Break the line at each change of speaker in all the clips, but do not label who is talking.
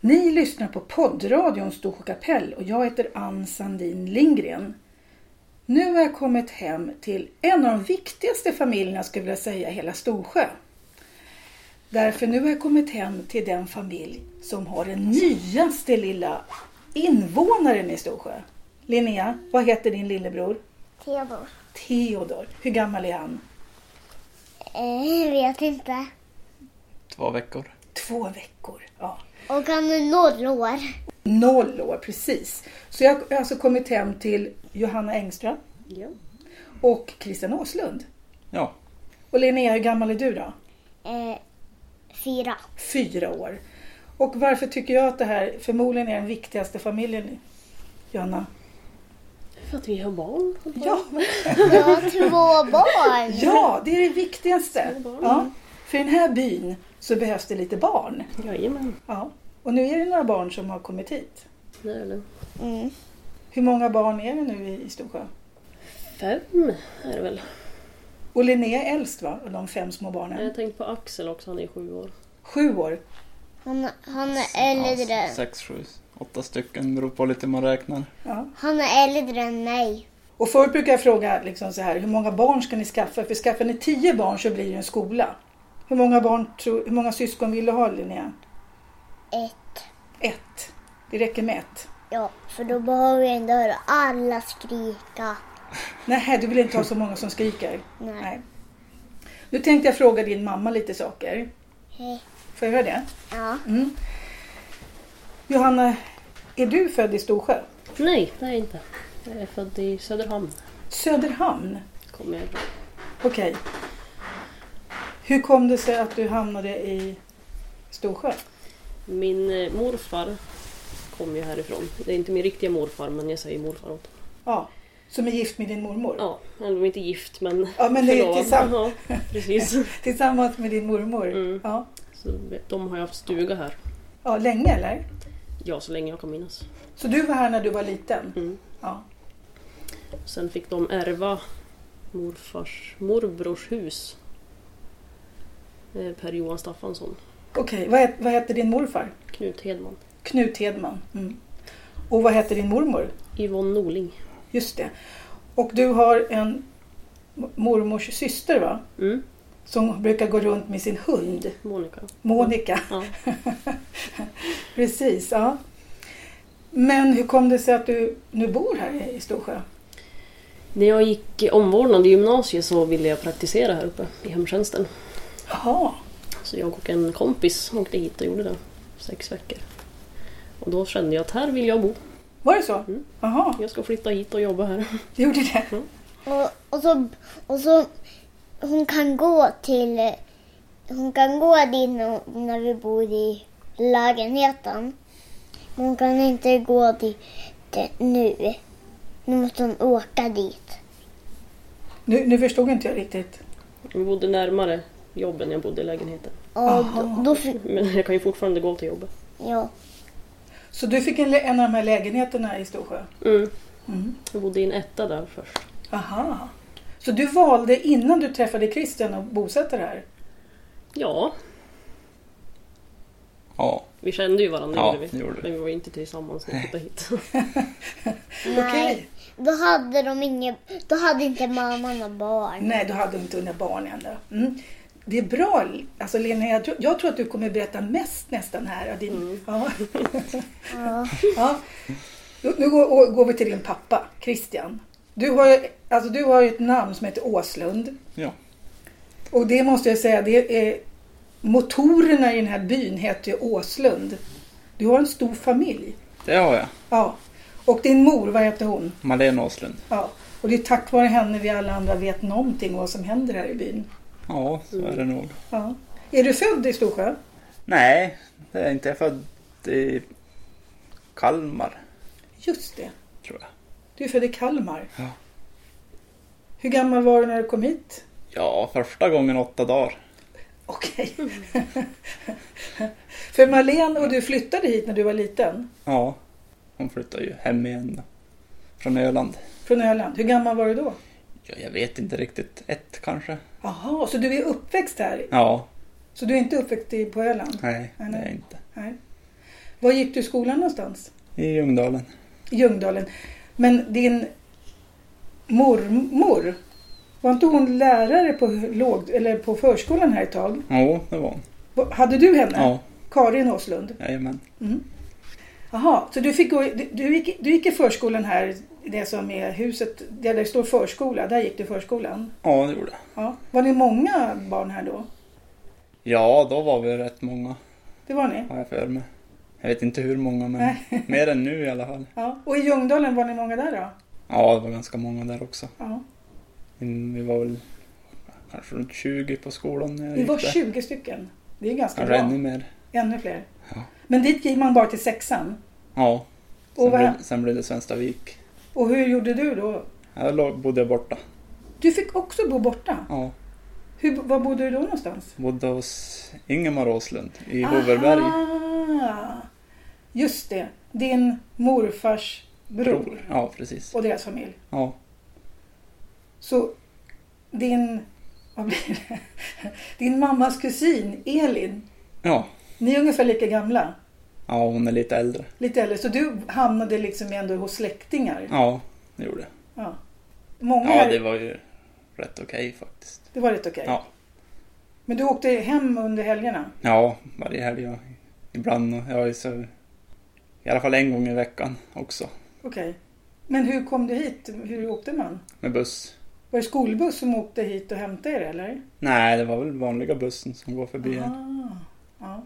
Ni lyssnar på poddradion Storsjö kapell och jag heter Ann Sandin Lindgren. Nu har jag kommit hem till en av de viktigaste familjerna skulle jag vilja säga i hela Storsjö. Därför nu har jag kommit hem till den familj som har den nyaste lilla invånaren i Storsjö. Linnea, vad heter din lillebror?
Theodor.
Theodor. Hur gammal är han?
Eh, vet inte.
Två veckor.
Två veckor. Ja.
Och han är noll år.
Noll år, precis. Så jag har alltså kommit hem till Johanna Engström och Christian Åslund.
Ja.
Och Linnea, hur gammal är du då?
Eh, fyra.
Fyra år. Och varför tycker jag att det här förmodligen är den viktigaste familjen, Johanna?
För att vi har barn. och barn.
Ja,
Jag har två barn.
ja det är det viktigaste.
Små barn.
Ja. För i den här byn så behövs det lite barn.
Jajamän.
Ja. Och nu är det några barn som har kommit hit.
Det är det.
Mm.
Hur många barn är det nu i i Storsjö?
Fem är det väl.
Och Linnea är äldst va, av de fem små
Jag har
barnen?
tänkt på Axel också, han är sju år.
Sju år.
Han, han är
Ja,
äldre.
sex, sju, åtta stycken. Beror på lite hur man räknar.
Ja.
Han är äldre än mig.
Och förut brukar jag fråga liksom så här, hur många barn ska ni skaffa? För skaffar ni tio barn så blir det en skola. Hur många, barn tror, hur många syskon vill du ha Linnea?
Ett.
Ett. Det räcker med ett.
Ja, för då behöver jag inte höra alla skrika.
Nej, du vill inte ha så många som skriker?
Nej.
Nu tänkte jag fråga din mamma lite saker.
Hej.
Får jag göra det?
Ja.
Mm. Johanna, är du född i Storsjö?
Nej, det är jag inte. Jag är född i Söderhamn.
Söderhamn?
Kommer jag ifrån.
Okej. Hur kom det sig att du hamnade i Storsjö?
Min eh, morfar kom ju härifrån. Det är inte min riktiga morfar, men jag säger morfar åt honom.
Ja, som är gift med din mormor?
Ja, han var inte gift, men
Ja, men det är
förlovad.
tillsammans.
Ja, precis.
Tillsammans med din mormor?
Mm.
Ja.
Så de har ju haft stuga här.
ja. Länge eller?
Ja, så länge jag kan minnas.
Så du var här när du var liten?
Mm.
Ja.
Sen fick de ärva morfars, morbrors hus. Eh, Per Johan Staffansson,
Okej, vad, het- vad heter din morfar?
Knut Hedman,
Knut Hedman. Mm. Och vad heter din mormor?
Yvonne Norling.
Just det. Och du har en m- mormors syster va?
Mm,
Som brukar gå runt med sin hund,
Monica.
Monica.
Ja.
Precis, ja. Men hur kom det sig att du nu bor här i- i Storsjö?
När jag gick i omvårdnad i gymnasiet så ville jag praktisera här uppe i hemtjänsten.
Jaha,
Så jag och en kompis åkte hit och gjorde det. Sex veckor. Och då kände jag att här vill jag bo.
var det så?
Mm.
Jaha,
Jag ska flytta hit och jobba här.
du gjorde det?
Och, och, så, och så hon kan gå till hon kan gå dit nå- när vi bor i lägenheten. Men hon kan inte gå dit nu. Nu måste hon åka dit.
Nu, nu förstod inte jag riktigt.
Vi bodde närmare jobben än jag bodde i lägenheten.
Och
Aha.
då, då, fi-
Men jag kan ju fortfarande gå till jobbet.
ja,
Så du fick en, lä- en av de här lägenheterna i Storsjö?
Mm.
Mm.
Jag bodde i en etta där först.
Aha. Så du valde innan du träffade Christian att bosätta dig här?
Ja,
Ja.
vi kände ju varandra
Ja,
gjorde vi.
det gjorde vi.
Men vi var ju inte tillsammans när vi flyttade hit.
nej.
Okej.
Då hade de inget, då hade inte mamma några barn.
Nej, du hade inte unga barn ännu. Mm. Det är bra. Alltså Lena, jag tror, jag tror att du kommer berätta mest nästan här. av Din, ja.
Ja.
ja. Nu, nu går, å- går vi till din pappa, Christian. Du har, ju- alltså, du har ju ett namn som heter Åslund.
Ja.
Och det måste jag säga, det är, motorerna i den här byn heter ju Åslund. Du har en stor familj.
Det har jag.
Ja. Och din mor, vad heter hon?
Malena Åslund.
Ja. Och det är tack vare henne vi alla andra vet någonting om vad som händer här i byn.
Ja, så är det nog.
Ja. Är du född i Storsjö?
Nej, det är inte. Jag är född i Kalmar,
Just det.
tror jag.
Du är född i Kalmar.
Ja.
Hur gammal var du när du kom hit?
Ja, första gången åtta dagar.
Okej. För Marlene och du flyttade hit när du var liten.
Ja. Hon flyttade ju hem igen då. Från Öland.
Från Öland. Hur gammal var du då?
Ja, jag vet inte riktigt. Ett kanske?
Jaha, så du är uppväxt här?
Ja.
Så du är inte uppväxt i- på Öland?
Nej, det
Nej,
är
nej.
jag inte.
Nej. Var gick du i skolan någonstans?
I Ljungdalen.
I Ljungdalen. Men din mormor, var inte hon lärare på, låg, eller på förskolan här ett tag?
Jo, det var hon.
Va- Hade du henne?
Ja,
Karin Åslund?
jajamän.
Jaha, så du, fick gå, i- du, du, gick, du gick i förskolan här, det som är huset, där det står förskola, där gick du i förskolan?
Ja, det gjorde jag.
Ja. Var ni många barn här då?
Ja, då var vi rätt många,
Det var ni?
har jag för mig. Jag vet inte hur många, men
Nej.
mer än nu i alla fall.
Ja. Och i Ljungdalen, var ni många där då?
Ja, det var ganska många där också.
Ja.
Mm, Vi var väl kanske runt 20 på skolan när jag
Ni var
där.
20 stycken. Det är ganska
Kanske
bra.
ännu mer.
Ännu fler.
Ja.
Men dit gick man bara till sexan.
Ja. Sen,
Och, vad,
blev, sen blev det Svenstavik.
och hur gjorde du då?
Här låg- bodde jag borta.
Du fick också bo borta.
Ja.
Hur, var bodde du då någonstans?
Bodde hos Ingemar Åslund i Hoverberg.
Ah, just det. Din morfars bror,
Ja, precis.
och deras familj.
Ja.
Så din, vad blir det? din mammas kusin Elin,
ja.
ni är ungefär lika gamla.
Ja, hon är lite äldre.
Lite äldre, så du hamnade liksom ändå hos släktingar.
Ja, det gjorde jag.
Ja. Många
Ja,
här-
det var ju rätt okej faktiskt.
det var rätt okej.
Ja.
Men du åkte hem under helgerna?
Ja, varje helg. och Ibland. och Jag är så... I alla fall en gång i veckan också.
Okej. Men hur kom du hit? Hur åkte man?
Med buss.
Var det skolbuss som åkte hit och hämtade er eller?
Nej, det var väl vanliga bussen som går förbi här.
Ah, ja.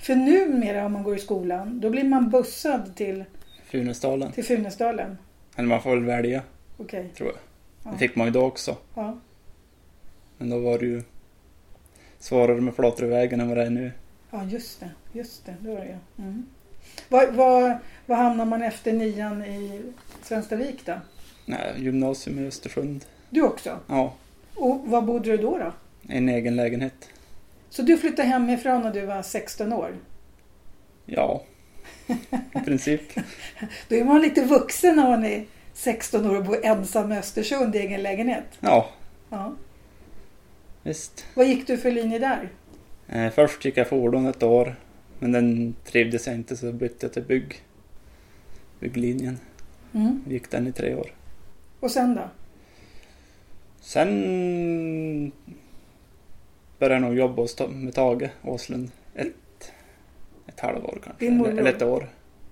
För numera om man går i skolan, då blir man bussad till,
Funäsdalen.
till Funäsdalen.
Eller man får väl välja,
Okej.
tror jag.
Ja.
Det fick man ju då också.
Ja.
Men då var det ju svårare med Flatrövägen än vad det är nu.
ja, just det. Just det, det var det ja. mm. Vad var, var hamnar man efter nian i Svenstavik då?
Nej, gymnasium i Östersund.
Du också?
Ja,
Och var bodde du då? då?
en egen lägenhet.
Så du flyttade hemifrån när du var 16 år?
Ja, i princip.
Då är man lite vuxen när man är 16 år och bor ensam i Östersund i egen lägenhet.
Ja,
Ja.
visst.
Vad gick du för linje där?
Eh, först gick jag fordon ett år, men den trivdes jag inte så bytte jag till bygg. Bygglinjen. Gick den i tre år.
Mm. Och sen då?
Sen började jag nog jobba hos Ta- med Tage Åslund. Ett, ett halvår kanske,
Din
eller,
mormor?
eller ett år.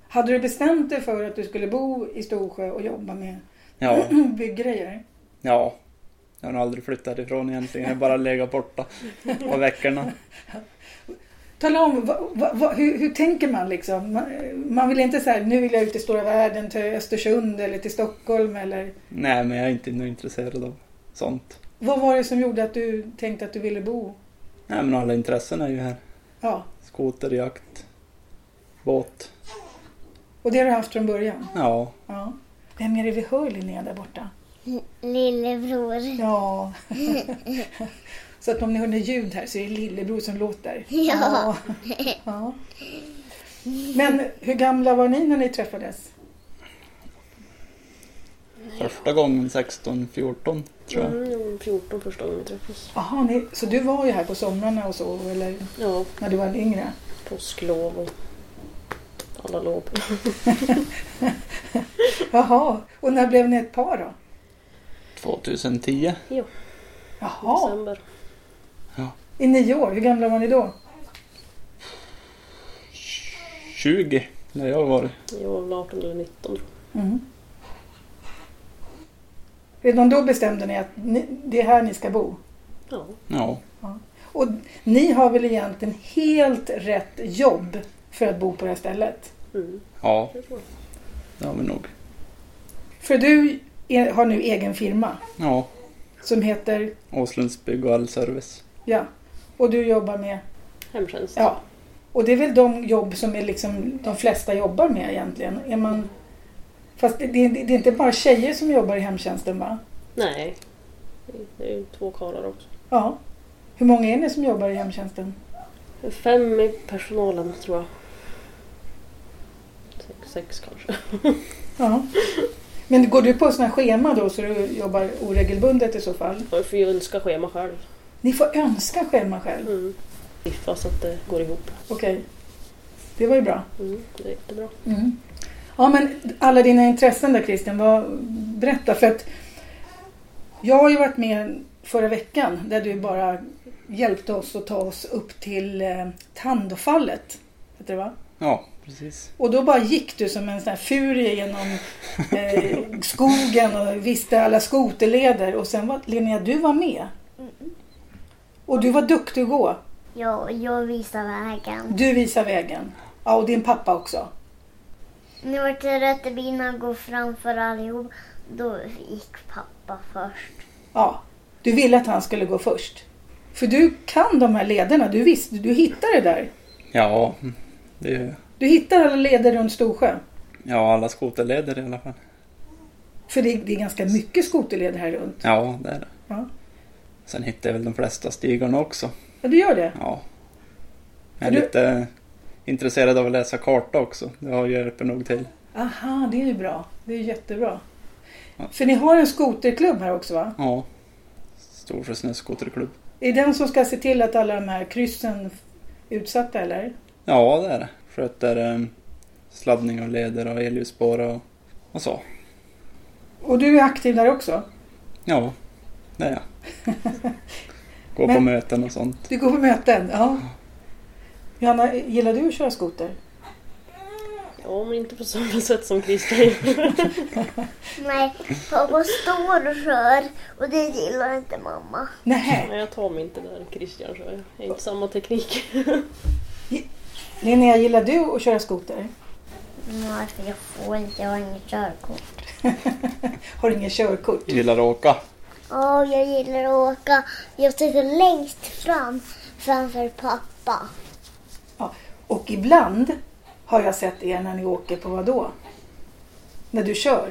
Hade du bestämt dig för att du skulle bo i Storsjö och jobba med
Ja,
byggrejer?
ja. Jag har nog aldrig flyttat ifrån egentligen, jag har bara legat borta på veckorna.
Tala om, va, va, va, hur, hur tänker man liksom? Man, man vill inte säga nu vill jag ut i stora världen, till Östersund eller till Stockholm eller
Nej, men jag är inte nog intresserad av sånt.
Vad var det som gjorde att du tänkte att du ville bo?
Nej, men alla intressen är ju här.
Ja,
Skoter, jakt, båt.
och det har du haft från början?
Ja,
Ja. Vem är det vi hör Linnea där borta?
Lillebror.
Ja. så att om ni hör något ljud här så är det lillebror som låter.
Ja.
Ja. ja. Men hur gamla var ni när ni träffades?
första gången 16-14 tror jag.
Mm, jag var 14 första gången vi träffades.
Jaha, ni, så du var ju här på somrarna och så, eller
Ja,
när du var yngre?
påsklov och alla lov.
Jaha, och när blev ni ett par då?
2010.
Jo,
Jaha,
december.
i nio år. Hur gamla var ni då?
20 när jag var
Jag var väl 18 eller 19 tror
Mm. Redan då bestämde ni att ni, det är här ni ska bo?
jag. Ja.
Ja,
Och ni har väl egentligen helt rätt jobb för att bo på det här stället?
Mm,
ja,
det tror jag.
det har vi nog.
För du är, har nu egen firma
Ja,
som heter,
Åslunds bygg och all service.
ja, och du jobbar med,
Hemtjänst.
ja. Och det är väl de jobb som är liksom de flesta jobbar med egentligen? Är man, fast det, det, det är inte bara tjejer som jobbar i hemtjänsten va?
Nej, det är ju två karlar också.
Ja. Hur många är ni som jobbar i hemtjänsten?
Fem i personalen tror jag. Sex, sex kanske.
Ja. Men går du på sådana schema då så du jobbar oregelbundet i så fall?
Jag får ju önska schema själv.
Ni får önska schema själv.
Mm. Fast att det går ihop.
Okej. Det var ju bra.
Mm, det är jättebra.
Mm. Ja, men alla dina intressen där Christian, vad, berätta. För att jag har ju varit med förra veckan där du bara hjälpte oss att ta oss upp till eh, Tandofallet. Heter det va?
Ja, precis.
Och då bara gick du som en sån här furie genom eh, skogen och visste alla skoterleder. Och sen var Linnea, du var med. Mm. Och du var duktig att gå.
Ja, jag visar vägen.
Du visar vägen. Ja, och din pappa också.
Nu vart det rätt bina gå framför allihop. Då gick pappa först.
Ja, du ville att han skulle gå först. För du kan de här lederna, du visste, du hittade det där.
Ja, det är
Du hittar alla leder runt Storsjö.
ja, alla skoterleder i alla fall.
För det, det är ganska mycket skoterleder här runt.
Ja, det är det.
Ja.
Sen hittar jag väl de flesta stigarna också.
Ja, du gör det?
Ja. Jag är
Är du-
lite intresserad av att läsa karta också. Det har hjälper nog till.
Aha, det är ju bra. Det är jättebra.
Ja.
För ni har en skoterklubb här också va?
Ja. Storsjö snöskoterklubb.
Är det den som ska se till att alla de här kryssen f- utsatta eller?
Ja, det är det. Sköter eh, sladdning av leder och elljusspår och, och så.
Och du är aktiv där också?
Ja, det är jag. Går på
Men-
möten och sånt.
Du går på möten? Ja. Johanna, gillar du att köra skoter?
Ja, men inte på samma sätt som Christer.
Nej, pappa står och kör och det gillar inte mamma.
Nej.
Nej, jag tar mig inte där Christian kör. Jag är inte samma teknik.
Linnea, gillar du att köra skoter?
Nej, för jag får inte. Jag har inget körkort.
Har du inget körkort?
Gillar att åka.
Ja, jag gillar att åka. Jag sitter längst fram framför pappa.
Ja. Och ibland har jag sett er när ni åker på vad då? När du kör?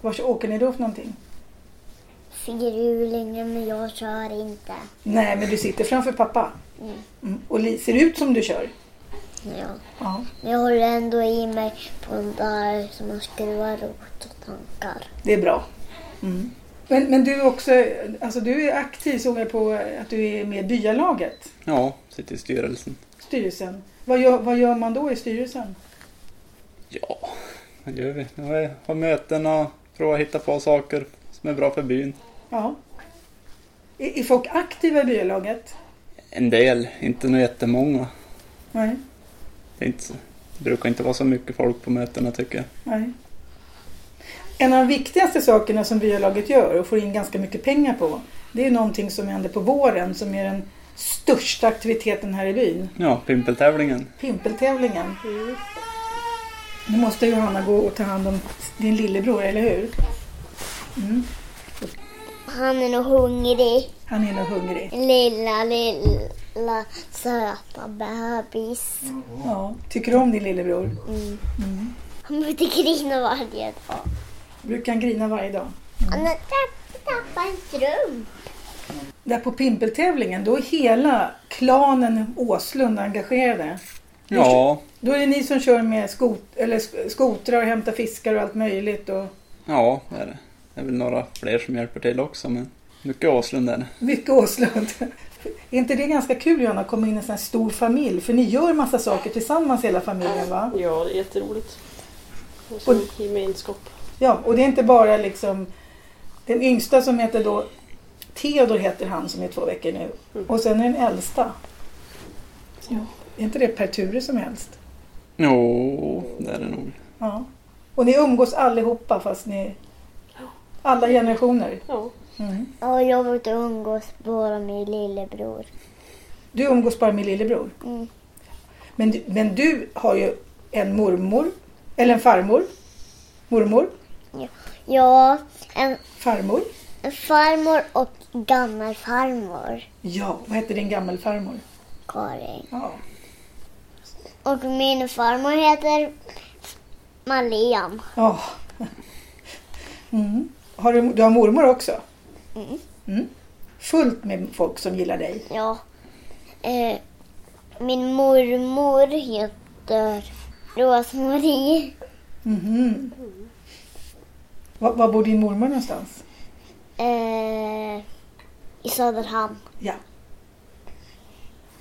Var åker ni då för någonting?
Fyrhjulingen, men jag kör inte.
Nej, men du sitter framför pappa.
Mm.
Mm. Och li- ser ut som du kör?
Ja.
Ja.
Men jag håller ändå i mig på en där som man skruvar åt och tankar.
Det är bra. Mm. Men, men du är också, alltså du är aktiv såg jag på att du är med i byalaget,
Ja, sitter i styrelsen.
styrelsen. Vad gör, vad gör man då i styrelsen?
Ja, vad gör vi? Ja, vi har möten och prova hitta på saker som är bra för byn.
Ja. Är, är folk aktiva i byalaget?
En del, inte några jättemånga.
Nej.
Det, är inte, så- det brukar inte vara så mycket folk på mötena tycker jag.
Nej. En av de viktigaste sakerna som byalaget gör och får in ganska mycket pengar på, det är någonting som händer på våren som är den största aktiviteten här i byn.
Ja, pimpeltävlingen.
Pimpeltävlingen. Nu måste Johanna gå och ta hand om din lillebror, eller hur? Mm.
Han är nog hungrig.
Han är nog hungrig.
Lilla, lilla söta bebis.
Ja. Tycker du om din lillebror?
Mm.
Mm.
Han måste grina varje dag.
Brukar han grina varje dag?
Han har tapp- tappat en strump.
Där på pimpeltävlingen, då är hela klanen Åslund engagerade.
Ja,
Då är det ni som kör med skot eller sk- skotrar och hämtar fiskar och allt möjligt. Och
ja det är det. Det är väl några fler som hjälper till också men mycket Åslund är det.
mycket Åslund. är inte det ganska kul Johanna, att komma in i en sån här stor familj? För ni gör massa saker tillsammans hela familjen va?
Ja, det är jätteroligt. Och så gemenskap.
Ja, och det är inte bara liksom den yngsta som heter då Theodor heter han som är två veckor nu.
Mm.
Och sen är den äldsta.
Ja.
Är inte det per Ture som helst?
Jo, det är det nog.
Ja. Och ni umgås allihopa fast ni... Alla generationer.
Ja,
Mm.
Ja, jag vill inte umgås bara med lillebror.
Du umgås bara med lillebror.
Mm.
Men, du- men du har ju en mormor, eller en farmor, mormor,
Ja, en
farmor.
en farmor och gammelfarmor,
Ja, vad heter din gammelfarmor?
Karin.
Ja.
Och min farmor heter Maliam.
Ja. Mm. Har du, du har mormor också?
Mm.
Mm. Fullt med folk som gillar dig.
Ja. Eh, min mormor heter Rosmarie.
Mhm. Var, var bor din mormor någonstans?
Eh, I Söderhamn.
Ja.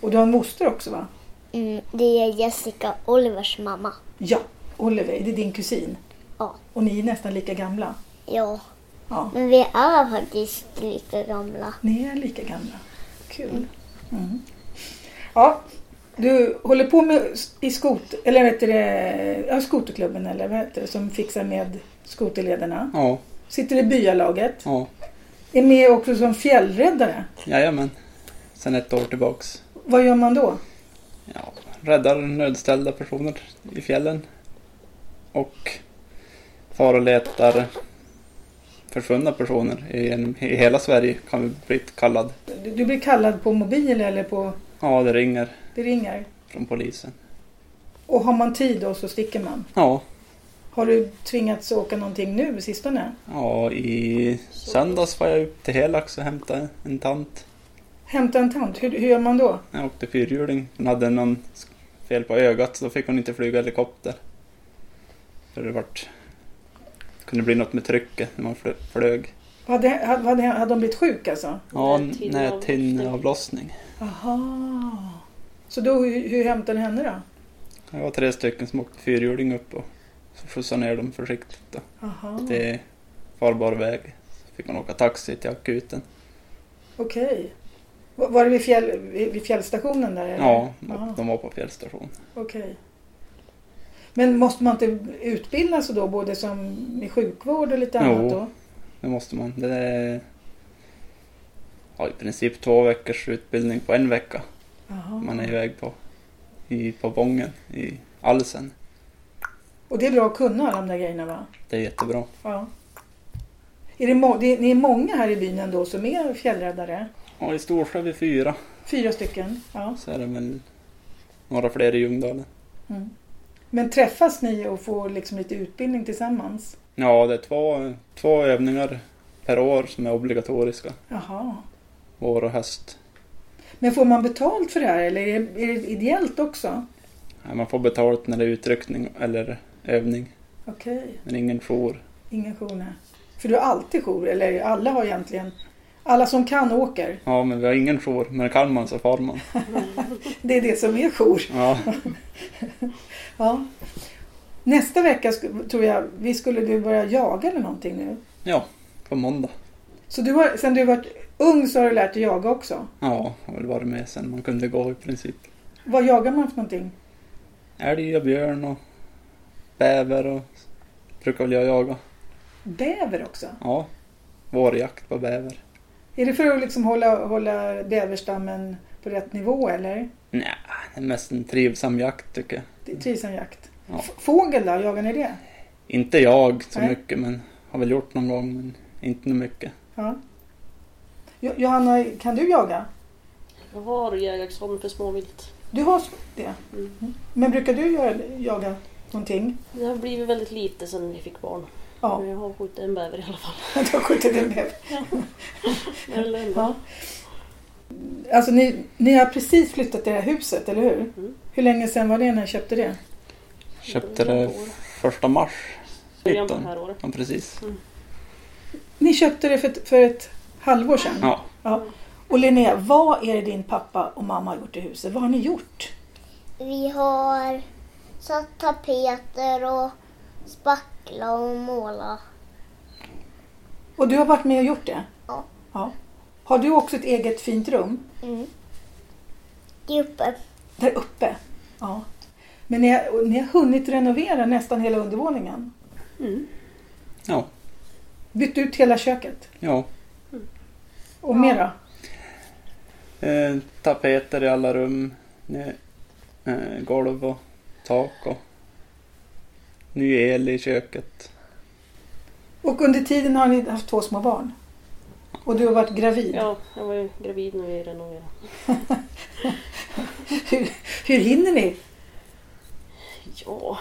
Och du har en moster också va?
Mm, det är Jessica Olivers mamma.
Ja, Oliver, det är din kusin.
Ja.
Och ni är nästan lika gamla.
Ja.
Ja,
Men vi är faktiskt lika gamla.
ni är lika gamla. Mm.
Kul.
Mm.
Ja, du håller på med s- i skot, eller vet du, det, ja, skoterklubben eller vad heter det, som fixar med skoterlederna.
Ja,
Sitter i byalaget.
ja.
Är med också som fjällräddare.
Jajamän. Sen ett år tillbaks.
Vad gör man då?
Ja, räddar nödställda personer i fjällen. Och far och letar försvunna personer i, en, i hela Sverige kan vi bli kallad.
Du, du blir kallad på mobil eller på...
Ja, det ringer
Det ringer.
från polisen.
Och har man tid då så sticker man.
Ja,
Har du tvingats åka någonting nu i sistone?
ja i söndags var jag upp till Helax och hämtade en tant.
Hämta en tant, hur, hur gör man då?
Jag åkte fyrhjuling. Hon hade någon sk- fel på ögat så då fick hon inte flyga helikopter. För det vart... kunde bli något med trycket när man flö- flög.
Hade, hade, hade, hade de blivit sjuk alltså?
Ja,
Näthinneavlossning.
näthinneavlossning.
Aha. Så då, hur, hur hämtade ni henne då?
Det var tre stycken som åkte fyrhjuling upp och så skjutsade ner dem försiktigt då.
Aha.
till farbar väg. Så fick man åka taxi till akuten.
Okej. Va- Var det vid, fjäll, vid vid fjällstationen där? Eller?
Ja,
Ja,
och de var på fjällstation.
Okej. Men måste man inte utbilda sig då, både som i sjukvård och lite
Jo.
annat då?
Det måste man. Det är ja, i princip två veckors utbildning på en vecka.
Aha.
man är iväg på. I, på Vången, i Alsen.
Och det är bra att kunna alla de där grejerna va?
Det är jättebra.
Ja. Är det, må- det är, ni är många här i byn ändå som är fjällräddare?
Ja, i Storsjö är vi fyra.
Fyra stycken? Ja.
Så är det väl några fler i Ljungdalen.
Mm. Men träffas ni och får liksom lite utbildning tillsammans?
Ja, det är två, två övningar per år som är obligatoriska.
Jaha.
Vår och höst.
Men får man betalt för det här eller är det, är det ideellt också?
Ja, Man får betalt när det är utryckning eller övning.
Okej,
Men ingen jour.
ingen jour nej. För du har alltid jour, eller alla har egentligen. Alla som kan åker.
Ja, men vi har ingen jour. Men kan man så far man.
Det är det som är jour.
Ja,
Ja. Nästa vecka sk- tror jag vi skulle du börja jaga eller någonting nu.
ja på måndag.
Så du har, sen du varit ung så har du lärt dig jaga också.
Ja, jag har väl varit med sen man kunde gå i princip.
Vad jagar man för någonting?
Älg och björn och bäver och brukar väl jag jaga.
Bäver också?
Ja, vårjakt på bäver.
Är det för att liksom hålla, hålla bäverstammen på rätt nivå eller?
Nej, det är mest en trivsam jakt tycker jag.
Det är trivseljakt.
Ja.
F- Fågel då, jagar ni det?
Inte jag så
Nej.
mycket men har väl gjort någon gång men inte så mycket.
Ja. Jo- Johanna, kan du jaga?
Jag har jägarexamen för småvilt.
Du har s- det.
Mm.
Men brukar du göra, jaga någonting?
Det har blivit väldigt lite sedan vi fick barn.
Ja,
Men jag har skjutit en bäver i alla fall.
du har skjutit en bäver.
Eller en
Ja. Alltså ni, ni har precis flyttat det här huset, eller hur?
Mm.
Hur länge sedan var det när ni köpte det?
Köpte det första mars.
Början på det
19.
här året.
Ja, precis.
Ni köpte det för, ett- för ett halvår sedan?
Ja,
Ja. Och Linnea, vad är det din pappa och mamma har gjort i huset? Vad har ni gjort?
Vi har satt tapeter och spackla och måla.
Och du har varit med och gjort det?
Ja.
ja. Har du också ett eget fint rum?
Mm. Det är uppe.
Där uppe? Ja. Men ni har, och ni har hunnit renovera nästan hela undervåningen?
ja,
Bytt ut hela köket?
ja.
Och mer då?
Eh, tapeter i alla rum. nä- Eh, golv och tak och ny el i köket.
Och under tiden har ni haft två små barn? Och du har varit gravid?
Ja, jag var ju gravid när vi renoverade.
Hur, hur hinner ni?
Ja,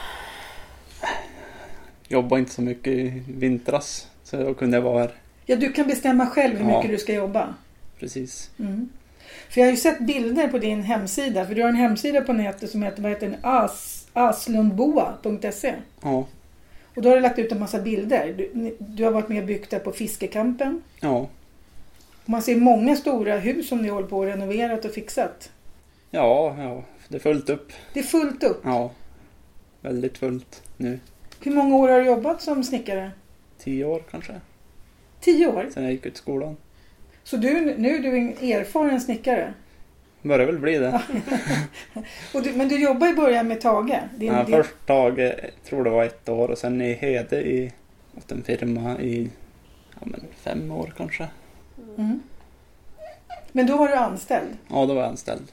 Jobbade inte så mycket i vintras så jag kunde vara här.
Ja, du kan bestämma själv hur
Ja.
mycket du ska jobba.
Precis.
Mm. För jag har ju sett bilder på din hemsida, för du har en hemsida på nätet som heter, vad heter den? As, aslundboa.se.
Ja,
Och då har du lagt ut en massa bilder. Du, ni- du har varit med och byggt där på fiskekampen.
ja,
Och man ser många stora hus som ni håller på och renoverat och fixat.
ja. ja. Det är fullt upp.
Det är fullt upp.
Ja. Väldigt fullt nu.
Hur många år har du jobbat som snickare?
Tio år kanske.
Tio år.
Sen jag gick ut skolan.
Så du, nu är du en erfaren snickare.
Börjar väl bli det.
Och du, men du jobbar i början med Tage. Din,
Ja,
din,
först tag, eh, tror det var ett år och sen i Hede i, åt en firma i ja, men fem år kanske.
Mm. Men då var du anställd.
Ja, då var jag anställd.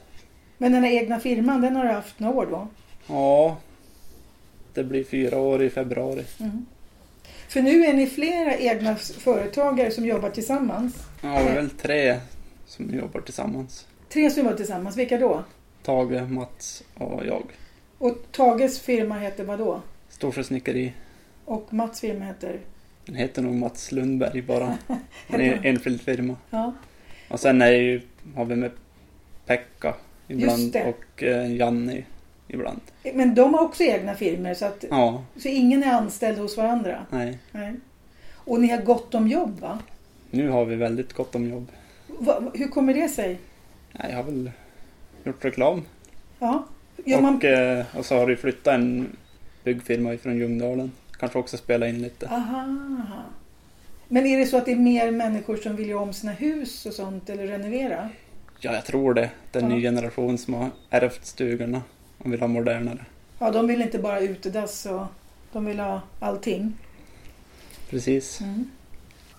Men den här egna firman, den har du haft några år då?
Ja, det blir fyra år i februari.
Mm. För nu är ni flera egna s- företagare som jobbar tillsammans.
Ja, vi är väl tre som jobbar tillsammans.
Tre som jobbar tillsammans, vilka då?
Tage, Mats och jag.
Och Tages firma heter vad då?
Storsjö snickeri.
Och Mats firma heter?
Den heter nog Mats Lundberg bara. En en- enskild firma.
Ja.
Och sen är det ju, har vi med Pekka
Just
ibland
det.
och eh, Janni ibland.
Men de har också egna firmor så, att,
Ja,
så ingen är anställd hos varandra?
nej.
Nej. Och ni har gott om jobb va?
Nu har vi väldigt gott om jobb.
va hur kommer det sig?
Nej, Jag har väl gjort reklam.
Ja. Gör
och,
man...
eh, och så har det ju flyttat en byggfirma ifrån Ljungdalen. Kanske också spela in lite.
Aha. Men är det så att det är mer människor som vill göra om sina hus och sånt eller renovera?
Ja, jag tror det. Det är en ny generation som har ärvt stugorna och vill ha modernare.
Ja, de vill inte bara utedass och de vill ha allting.
Precis.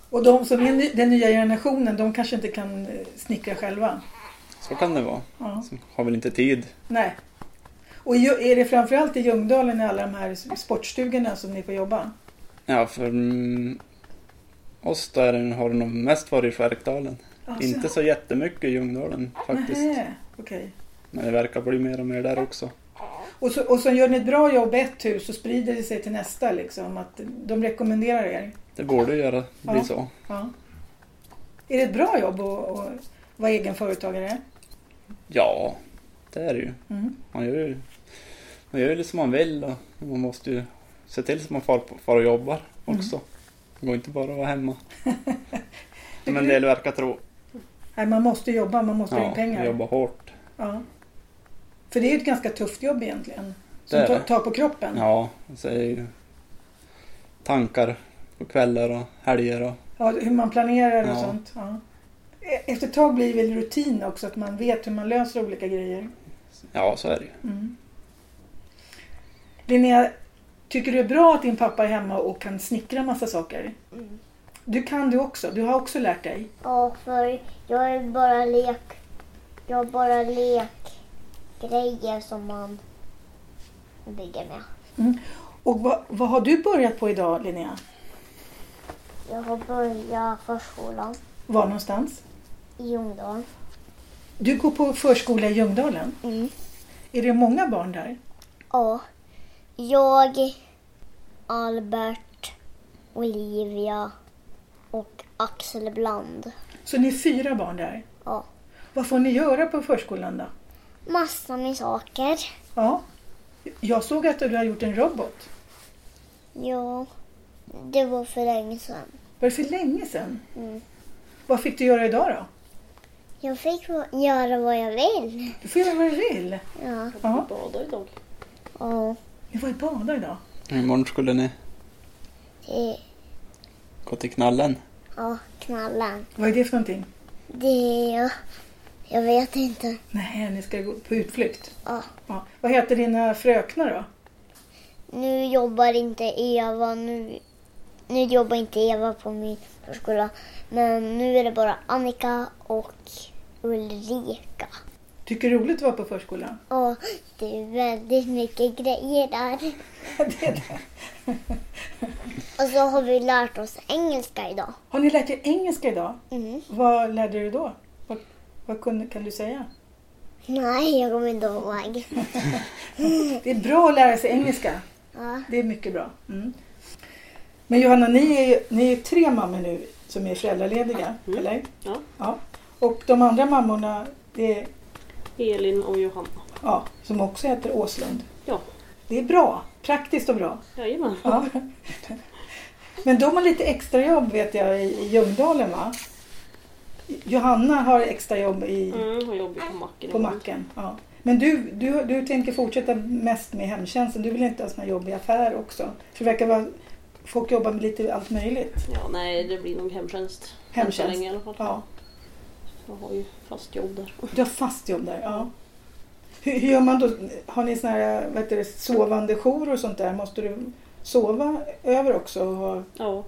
Och de som är ny- den nya generationen, de kanske inte kan eh, snickra själva.
Så kan det vara.
Ja.
Så har väl inte tid.
Nej. Och i- är det framförallt i Ljungdalen i alla de här s- sportstugorna som ni får jobba?
Ja, för mm, oss där har det nog mest varit i Skärkdalen.
Alltså,
Inte så jättemycket i Ljungdalen faktiskt.
nähä, okej.
Men det verkar bli mer och mer där också.
Och, så, och så gör ni ett bra jobb i ett hus och sprider det sig till nästa liksom. Att de rekommenderar er.
Det borde ju göra bli
Ja.
så.
Ja. Är det ett bra jobb att, att vara egen företagare?
Ja, det är det ju.
Mm.
Man gör ju, man gör ju lite som man vill och man måste ju se till så att man far, far och jobbar
Mm.
också. Det går inte bara att vara hemma. Som en del verkar tro.
Nej, man måste jobba, man måste ha in
Ja,
pengar.
jobba hårt.
Ja. För det är ju ett ganska tufft jobb egentligen.
Det
Som
är
tar,
det.
tar på kroppen.
Ja, och så är det ju tankar på kvällar och helger och
Ja, hur man planerar och
Ja.
sånt. Ja. E- Efter ett tag blir det väl rutin också, att man vet hur man löser olika grejer.
ja, så är det ju.
Mm. Linnea, tycker du det är bra att din pappa är hemma och kan snickra massa saker?
Mm.
Du kan du också, du har också lärt dig.
Ja, för jag är bara lek. Jag har bara lekgrejer som man bygger med.
Och vad, vad har du börjat på idag Linnea?
Jag har börjat förskolan
Var någonstans?
i Ljungdalen.
Du går på förskola i Ljungdalen.
Mm.
Är det många barn där?
Ja. Jag, Albert, Olivia och Axel ibland.
Så ni är fyra barn där.
Ja.
Vad får ni göra på förskolan då?
Massor med saker.
Ja. Jag såg att du har gjort en robot.
Ja, det var för länge sedan.
Var det för länge sedan?
Mm.
Vad fick du göra idag då?
Jag fick va- göra vad jag vill.
Du får göra vad du vill.
Ja.
Ja.
Badar idag.
Och
Ni var ju bada idag.
Imorgon skulle ni
det,
gå till knallen.
eh, ja, knallen.
Vad är det för någonting?
Det, jag, jag vet inte.
Nej, ni ska gå på utflykt.
Ja.
Ja. Vad heter dina fröknar då?
Nu jobbar inte Eva, nu, nu jobbar inte Eva på min förskola. Men nu är det bara Annika och Ulrika.
Tycker det är roligt att vara på förskolan?
Ja, det är väldigt mycket grejer där.
Det är det.
Och så har vi lärt oss engelska idag.
Har ni lärt er engelska idag?
Mm.
Vad lärde du då? Vad, vad kunde, kan du säga?
Nej, jag kommer inte ihåg.
Det är bra att lära sig engelska.
Ja.
Det är mycket bra. Mm. Men Johanna, ni är, ju- ni är tre mammor nu som är föräldralediga,
Mm.
eller?
Ja.
ja. Och de andra mammorna, det är,
Elin och Johanna.
ja, som också heter Åslund.
Ja,
Det är bra. Praktiskt och bra.
jajamän.
Ja. Men de har lite extra jobb vet jag i i Ljungdalen va? Johanna har extra jobb i,
Mm, hon jobbar ju på macken.
på macken. Ja. Men du, du, du tänker fortsätta mest med hemtjänsten. Du vill inte ha såna jobb i affär också. För det verkar vara folk jobbar med lite allt möjligt.
Ja, nej, det blir nog hemtjänst.
Hemtjänst.
Än så länge i alla fall.
Ja.
Jag har ju fast jobb där.
Du har fast jobb där, ja. Hur, hur gör man då? Har ni såna här vad heter det, sovande jourer och sånt där? Måste du sova över också och ha
Ja.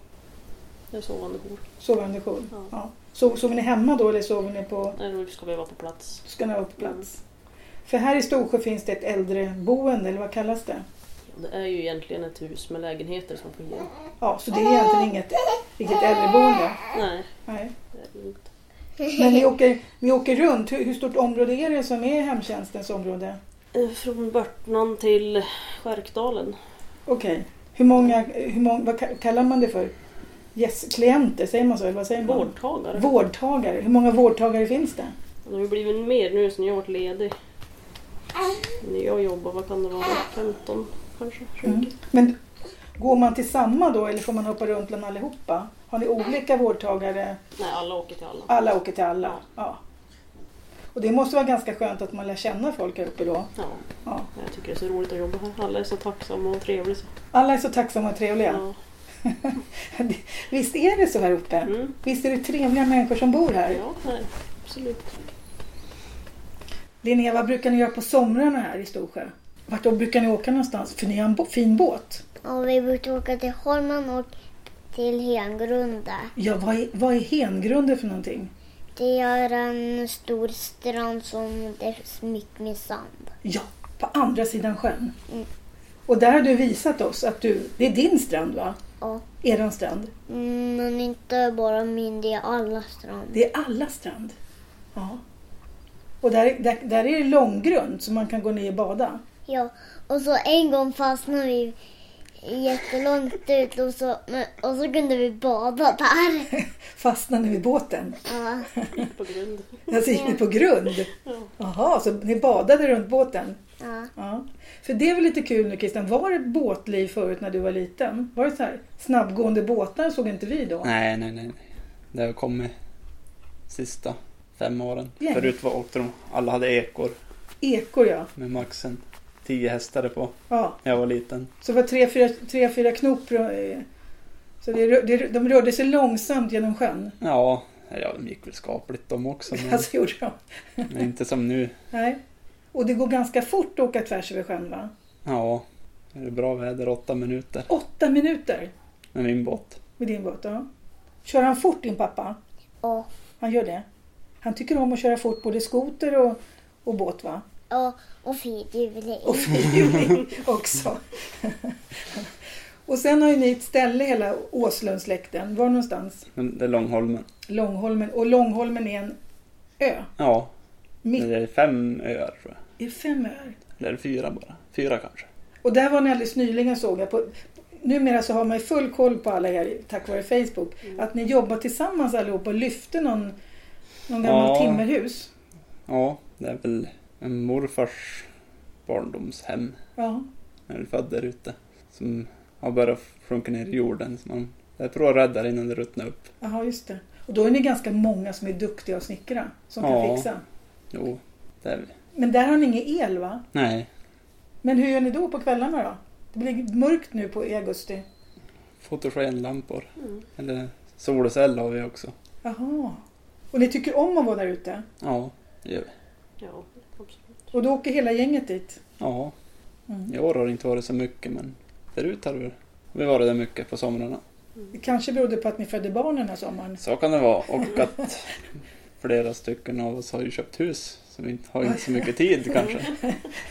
Det är sovande jour.
sovande jour?
Ja.
Ja. So, sover ni hemma då eller sover ni på
Nej, men vi ska behöva vara på plats.
Ska ni vara på plats? För här i Storsjö finns det ett äldreboende, eller vad kallas det?
Det är ju egentligen ett hus med lägenheter som får hyra.
Ja, så det är egentligen inget riktigt äldreboende.
Nej,
Nej.
det är det inte.
Men ni åker, ni åker runt. Hur, hur stort område är det som är hemtjänstens område?
Eh, Från Börtnan till Skärkdalen.
Okej. Hur många, hur många, vad ka- kallar man det för? Yes, klienter, säger man så? Eller vad säger man?
Vårdtagare.
Vårdtagare. Hur många vårdtagare finns det?
Det har ju blivit mer nu sen jag varit ledig. När jag jobbar, vad kan det vara? 15 kanske? 20?
Men går man till samma då eller får man hoppa runt bland allihopa? Har ni olika vårdtagare?
Nej, alla åker till alla.
Alla åker till alla? Ja. Och det måste vara ganska skönt att man lär känna folk här uppe då?
Ja,
Ja.
jag tycker det är så roligt att jobba här. Alla är så tacksamma och trevliga. Så.
Alla är så tacksamma och trevliga.
Ja.
Visst är det så här uppe?
Mm.
Visst är det trevliga människor som bor här?
ja, nej, absolut.
Linnea, vad brukar ni göra på somrarna här i Storsjö? Vart då brukar ni åka någonstans? För ni har en bo- fin båt.
Och vi brukar åka till Holmen och till Hengrunda.
Ja, vad är, vad är hengrunder för någonting?
Det är en stor strand som det är mycket med sand.
Ja, på andra sidan sjön.
Mm.
Och där har du visat oss att du, det är din strand va?
Ja.
Eran strand.
Mm, Men inte bara min, det är alla strand.
Det är alla strand. Ja. Och där, där, där är det långgrund så man kan gå ner och bada.
Ja, och så en gång fastnade vi jättelångt ut och så, men, och så kunde vi bada där.
Fastnade vid båten.
Ja.
På grund.
Alltså gick ni på grund.
Ja.
Jaha, så ni badade runt båten.
Ja.
Ja. För det är väl lite kul nu Christian. Var det båtliv förut när du var liten? Var det så här snabbgående båtar såg inte vi då?
Nej, nej, nej. nej. Det har kommit sista fem åren.
Ja.
Förut var åkte de, alla hade ekor
Ekor ja.
med max en tio hästar på
ja.
när jag var liten.
Så det var tre, fyra, tre, fyra knop. eh, Så det, rö- det, de rörde sig långsamt genom sjön.
Ja, ja de gick väl skapligt de också. Men,
Alltså gjorde de.
men inte som nu.
Nej. Och det går ganska fort att åka tvärs över sjön va?
Ja, det är bra väder, åtta minuter
Åtta minuter
med min båt.
med din båt. Ja. Kör han fort din pappa?
Ja.
Han gör det? Han tycker om att köra fort både skoter och, och båt va?
ja. Och fyrhjuling.
Och fyrhjuling också. och sen har ju ni ett ställe hela Åslundsläkten. Var någonstans?
Men det är Långholmen.
Långholmen. Och Långholmen är en ö.
Ja,
Mitt
det är fem öar tror jag.
i fem öar.
Eller fyra bara. Fyra kanske.
Och där var ni alldeles nyligen såg jag. På, numera så har man ju full koll på alla er tack vare Facebook. Att ni jobbar tillsammans allihop och lyfte någon, någon gammal
Ja.
timmerhus.
Ja, det är väl en morfars barndomshem.
Ja.
när du är född där ute. Som har börjat sjunka ner i jorden. Så man, jag tror jag räddar innan det ruttnar upp.
Jaha, just det. Och då är ni ganska många som är duktiga att snickra. Som kan
Ja.
fixa.
Jo, det är vi.
Men där har ni ingen el va?
Nej,
Men hur gör ni då på kvällarna då? Det blir mörkt nu på i augusti.
fotogenlampor.
Mm.
Eller solcell har vi också.
Jaha. Och ni tycker om att vara där ute?
Ja, det gör vi.
Ja, absolut.
Och då åker hela gänget dit?
Ja,
Mm.
i år har det inte varit så mycket men förut har vi, vi varit där mycket på somrarna.
Det kanske berodde på att ni födde barn den här sommaren?
Så kan det vara och att flera stycken av oss har ju köpt hus. Så vi inte- har inte så mycket tid kanske.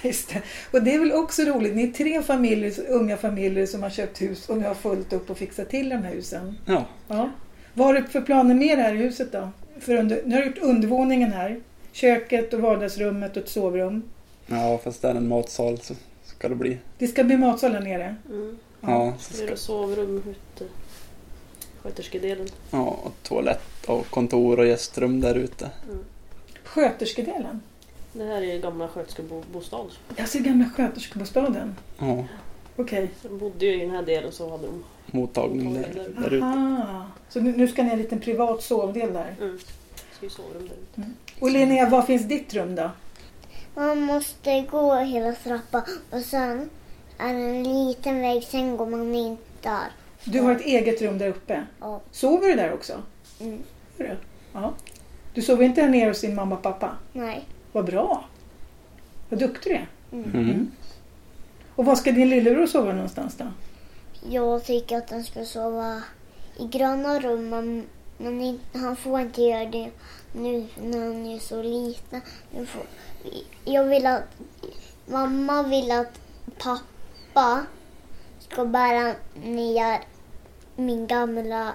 Just det. Och det är väl också roligt, ni är tre familjer, unga familjer som har köpt hus och nu har fullt upp och fixat till de här husen.
Ja,
Ja. Vad har du för planer med det här huset då? För under, nu har du gjort undervåningen här. Köket och vardagsrummet och ett sovrum.
ja fast det är en matsal så ska det bli.
Det ska bli matsal här nere.
Mm.
Ja, så
Så är
ska,
det sovrum ute. Sköterskedelen.
ja och toalett och kontor och gästrum där ute.
Sköterskedelen.
Mm. Det här är gamla sköterskebostad.
Jag ser gamla sköterskebostaden.
Ja,
Okej.
De bodde ju i den här delen så hade de...
mottagning där, där ute.
Aha. Så nu, nu ska ni ha en liten privat sovdel där.
Mm. Så är ju sovrum där ute.
Och Linnea, var finns ditt rum då?
Man måste gå hela trappan och sen är det en liten väg, sen går man in där.
Du har ett eget rum där uppe.
Ja.
Sover du där också?
Mm.
Gör du? Ja. Du sover inte här nere hos din mamma och pappa?
Nej.
Vad bra! Vad duktig du är.
Mm.
Och var ska din lillebror sova någonstans då?
Jag tycker att han ska sova i gröna rum, men, men inte- han får inte göra det nu när han är så liten. Nu får, jag vill att... Mamma vill att pappa ska bära ner min gamla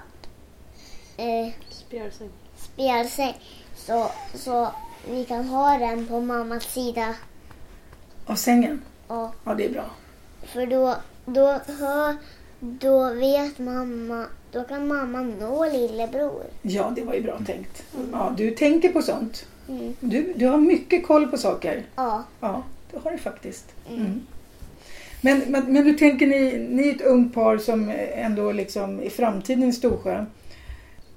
eh,
Spjälsäng.
spjälsäng så, så vi kan ha den på mammas sida.
Av sängen?
Och
Ja, det är bra.
För då, då, hör, då vet mamma, då kan mamma nå lillebror.
Ja, det var ju bra tänkt.
Mm.
Ja, du tänker på sånt.
Mm.
Du, du har mycket koll på saker.
Ja,
Ja, det har du faktiskt. Mm. Men, men, men du tänker, ni, ni är ett ungt par som ändå liksom i framtiden i Storsjö.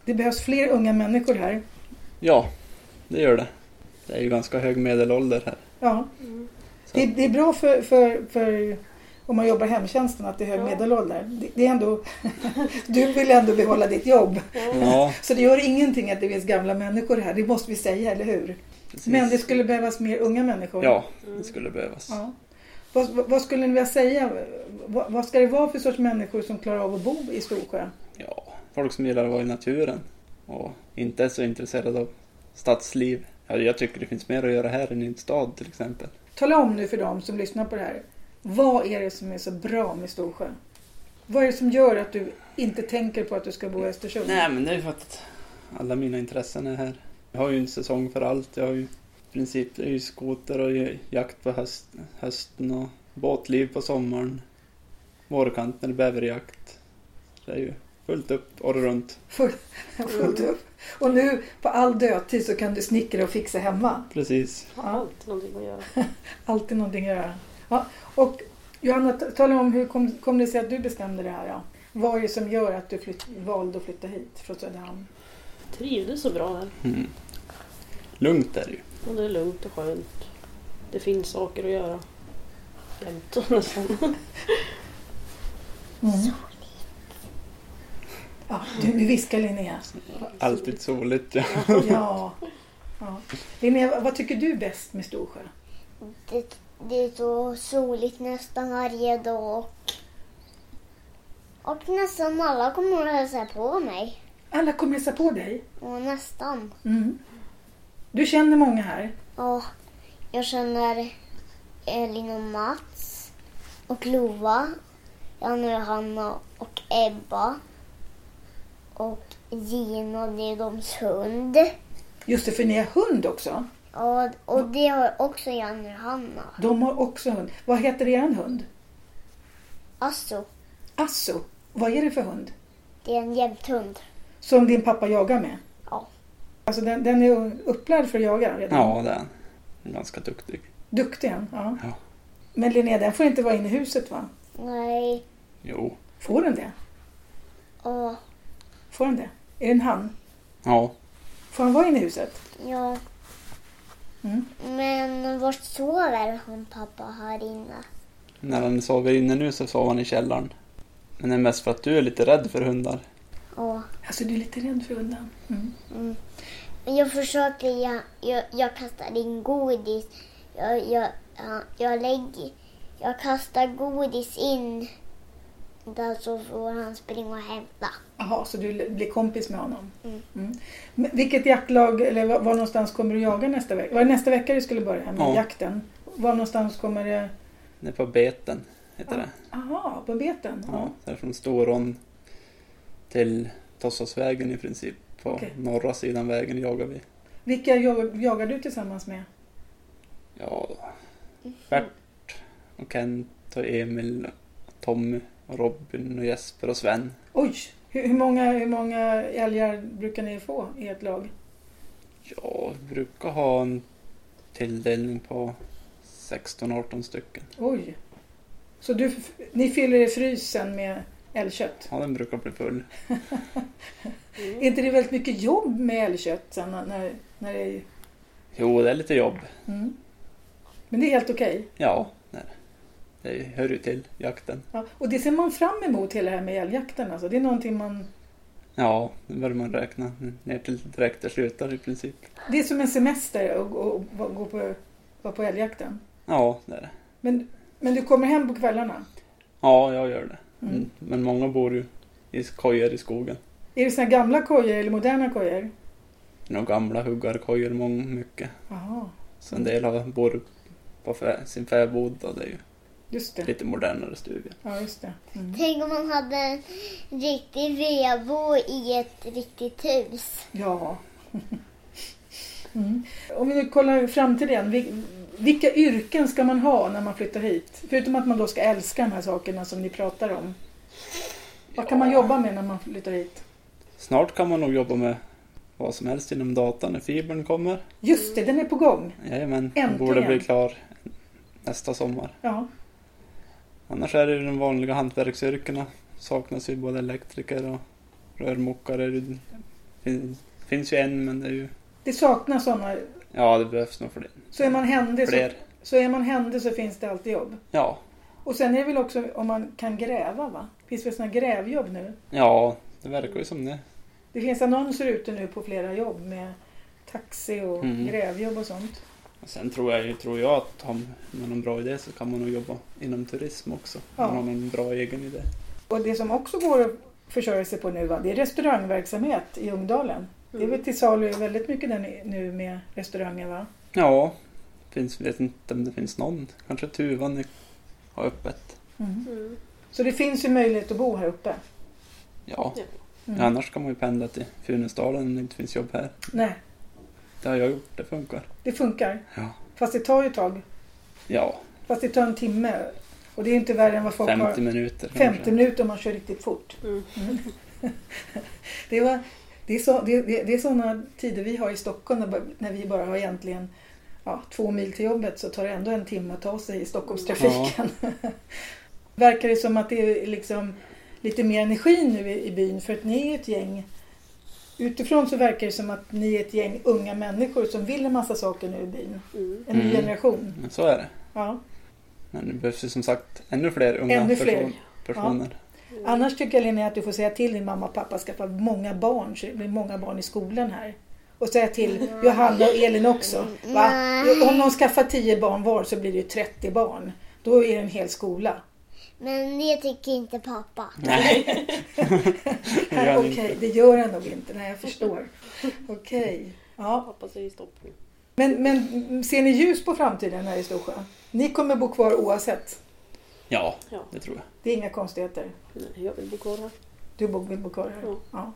Det behövs fler unga människor här.
Ja, det gör det. Det är ju ganska hög medelålder här.
Ja.
Mm.
Så.
Det, det är bra för, för, för om man jobbar i hemtjänsten att det är hög
Ja.
medelålder. Det, det är ändå, du vill ändå behålla ditt jobb.
Ja,
Så det gör ingenting att det finns gamla människor här, det måste vi säga, eller hur?
precis.
Men det skulle behövas mer unga människor.
Ja,
Mm.
det skulle behövas.
Ja. Vad, vad vad skulle ni vilja säga? Vad, vad ska det vara för sorts människor som klarar av att bo i Storsjö?
Ja, folk som gillar att vara i naturen och inte är så intresserade av stadsliv. Ja, jag tycker det finns mer att göra här än i en stad till exempel.
Tala om nu för dem som lyssnar på det här. Vad är det som är så bra med Storsjö? Vad är det som gör att du inte tänker på att du ska bo i Östersund?
Nej, men det är ju för att alla mina intressen är här. Jag har ju en säsong för allt. Jag har ju i princip det är ju skoter och ju- jakt på höst, hösten och båtliv på sommaren. Vårkant när det är bäverjakt. Det är ju fullt upp året runt.
Full- Fullt upp. Och nu på all dödtid så kan du snickra och fixa hemma.
Precis.
Har
Ja.
alltid någonting att göra.
Alltid någonting att göra. Ja. Och Johanna, ta- tala om hur kom, kom det sig att du bestämde det här? Ja? Vad är det som gör att du flytt, valde att flytta hit från Söderhamn?
Trivdes så bra här.
Mm. Lugnt är det ju.
Och det är lugnt och skönt. Det finns saker att göra. Jämt nästan.
Mm. Ja, du, nu viskar Linnea.
Alltid soligt. Ja.
Ja. ja. Linnea, vad tycker du bäst med Storsjö?
det, det är så soligt nästan varje dag och, och nästan alla kommer att hälsa på mig.
Alla kommer hälsa på dig.
Och nästan.
Mm. Du känner många här.
Ja, jag känner Elin och Mats och Lova, Janne och Johanna och Ebba och Gina, det är deras hund.
Just det, för ni har hund också.
Ja, och det har också Janne och Johanna.
De har också hund. Vad heter er hund?
Alltså,
Asso. Vad är det för hund?
det är en jämthund.
Som din pappa jagar med?
Ja.
Alltså den, den är upplärd för att jaga redan?
ja, det är han. Han är Ganska duktig.
Duktig han? Ja.
Ja.
Men Linnea, den får inte vara inne i huset va?
Nej,
Jo.
Får den det?
ja,
Får den det? Är det en han?
Ja.
Får han vara inne i huset?
ja.
Mm.
Men vart sover hon pappa här inne?
När han sover inne nu så sover han i källaren. Men det är mest för att du är lite rädd för hundar.
Ja.
Alltså du är lite rädd för hunden? Mm.
Jag försöker, jag, jag, jag kastar in godis. Jag, jag, ja, jag, lägger, jag kastar godis in där så får han springa och hämta.
Jaha, så du l- blir kompis med honom?
Mm.
Men vilket jaktlag, eller var, var någonstans kommer du jaga nästa vecka? Var det nästa vecka du skulle börja med
Ja.
jakten? Var någonstans kommer det?
Det är på beten, heter det.
Jaha, på beten?
Ja, det är från Storån till Tossasvägen i princip. På
Okej.
norra sidan vägen jagar vi.
Vilka jag, jagar du tillsammans med?
Ja, Bert och Kent och Emil och Tommy och Robin och Jesper och Sven.
Oj! Hur, hur, många, hur många älgar brukar ni få i ett lag?
Ja, vi brukar ha en tilldelning på 16-18 stycken.
Oj! Så du, ni fyller er frys sen med älgkött?
Ja, den brukar bli full.
Är inte det väldigt mycket jobb med älgkött sen när, när det är...
Jo, det är lite jobb.
Mm. Men det är helt okej.
Ja, nej. det hör ju till jakten.
Ja. Och det ser man fram emot hela det här med älgjakten. Alltså. Det är någonting man...
Ja, nu börjar man räkna ner till direkt det slutar i princip.
Det är som en semester att gå, och gå på, vara på älgjakten.
Ja, det är det.
Men, men du kommer hem på kvällarna?
Ja, jag gör det.
Mm.
Mm. Men många bor ju i kojor i skogen.
Är det såna gamla kojor eller moderna kojor?
Några gamla huggarkojor, många mycket.
Jaha,
Så en del har bor på fä, sin fäbod och det är ju
just det.
lite modernare stugor.
Ja, just det. Mm.
Tänk om man hade en riktig vedbo i ett riktigt hus.
Ja. Mm. Om vi nu kollar framtiden. vil- Vilka yrken ska man ha när man flyttar hit? Förutom att man då ska älska de här sakerna som ni pratar om. Vad kan man jobba med när man flyttar hit?
Snart kan man nog jobba med vad som helst inom datan när fibern kommer.
Just det, den är på gång.
Jajamän,
Äntligen.
den borde bli klar nästa sommar.
Ja,
Annars är det ju de vanliga hantverksyrkena. Saknas ju både elektriker och rörmokare. Det fin- finns ju en men det är ju...
det saknas sådana.
Ja, det behövs nog fler.
Så är man händig så,
fler.
så, är man händig så finns det alltid jobb.
Ja,
Och sen är det väl också om man kan gräva va? Finns det sådana grävjobb nu?
ja, det verkar ju som det.
Det finns annonser ute nu på flera jobb med taxi och
Mm.
grävjobb och sånt.
Och sen tror jag, ju- tror jag att om man har en bra idé så kan man nog jobba inom turism också.
Ja.
Om man har en bra egen idé.
Och det som också går att försörja sig på nu va? det är restaurangverksamhet i Ungdalen. Det
Mm.
är väl till salu väldigt mycket där nu- nu med restauranger va?
Ja, finns, vet inte om det finns någon. Kanske Tuvan är- har öppet.
Mm.
Så det finns ju möjlighet att bo här uppe.
Ja.
Ja.
Mm.
ja, annars kan man ju pendla till Funäsdalen om det inte finns jobb här.
Nej,
Det har jag gjort, det funkar.
det funkar.
Ja.
Fast det tar ju ett tag.
Ja,
Fast det tar en timme. Och det är ju inte värre än vad folk
50
har.
minuter
50 minuter om man kör riktigt fort.
Mm.
Det, var, det, är så, det, det, det är sådana tider vi har i Stockholm när, bara- när vi bara har egentligen ja, två mil till jobbet så tar det ändå en timme att ta sig i Stockholmstrafiken. Verkar det som att det är liksom lite mer energi nu i, i byn för att ni är ett gäng Utifrån så verkar det som att ni är ett gäng unga människor som vill en massa saker nu i byn.
Mm.
En ny
Mm.
generation.
Men så är det.
Ja.
Men det behövs ju som sagt ännu fler unga
Ännu fler.
person- personer.
Annars tycker jag Linnea att du får säga till din mamma och pappa att skaffa många barn så det blir många barn i skolan här. Och säga till Johanna och Elin också. Va?
Nej.
Om de skaffar 10 barn var så blir det ju 30 barn. Då är det en hel skola.
Men det tycker inte pappa.
Nej. Det gör
Här,
han
Okej,
inte.
det gör jag nog inte. Nej, jag förstår. Okej. Ja.
Pappa säger stopp nu.
Men, men ser ni ljus på framtiden här i Storsjö? Ni kommer bo kvar oavsett.
Ja,
Ja.
det tror jag.
Det är inga konstigheter.
Nej, jag vill bo kvar här.
Du bo- vill bo kvar här?
Ja.
Ja.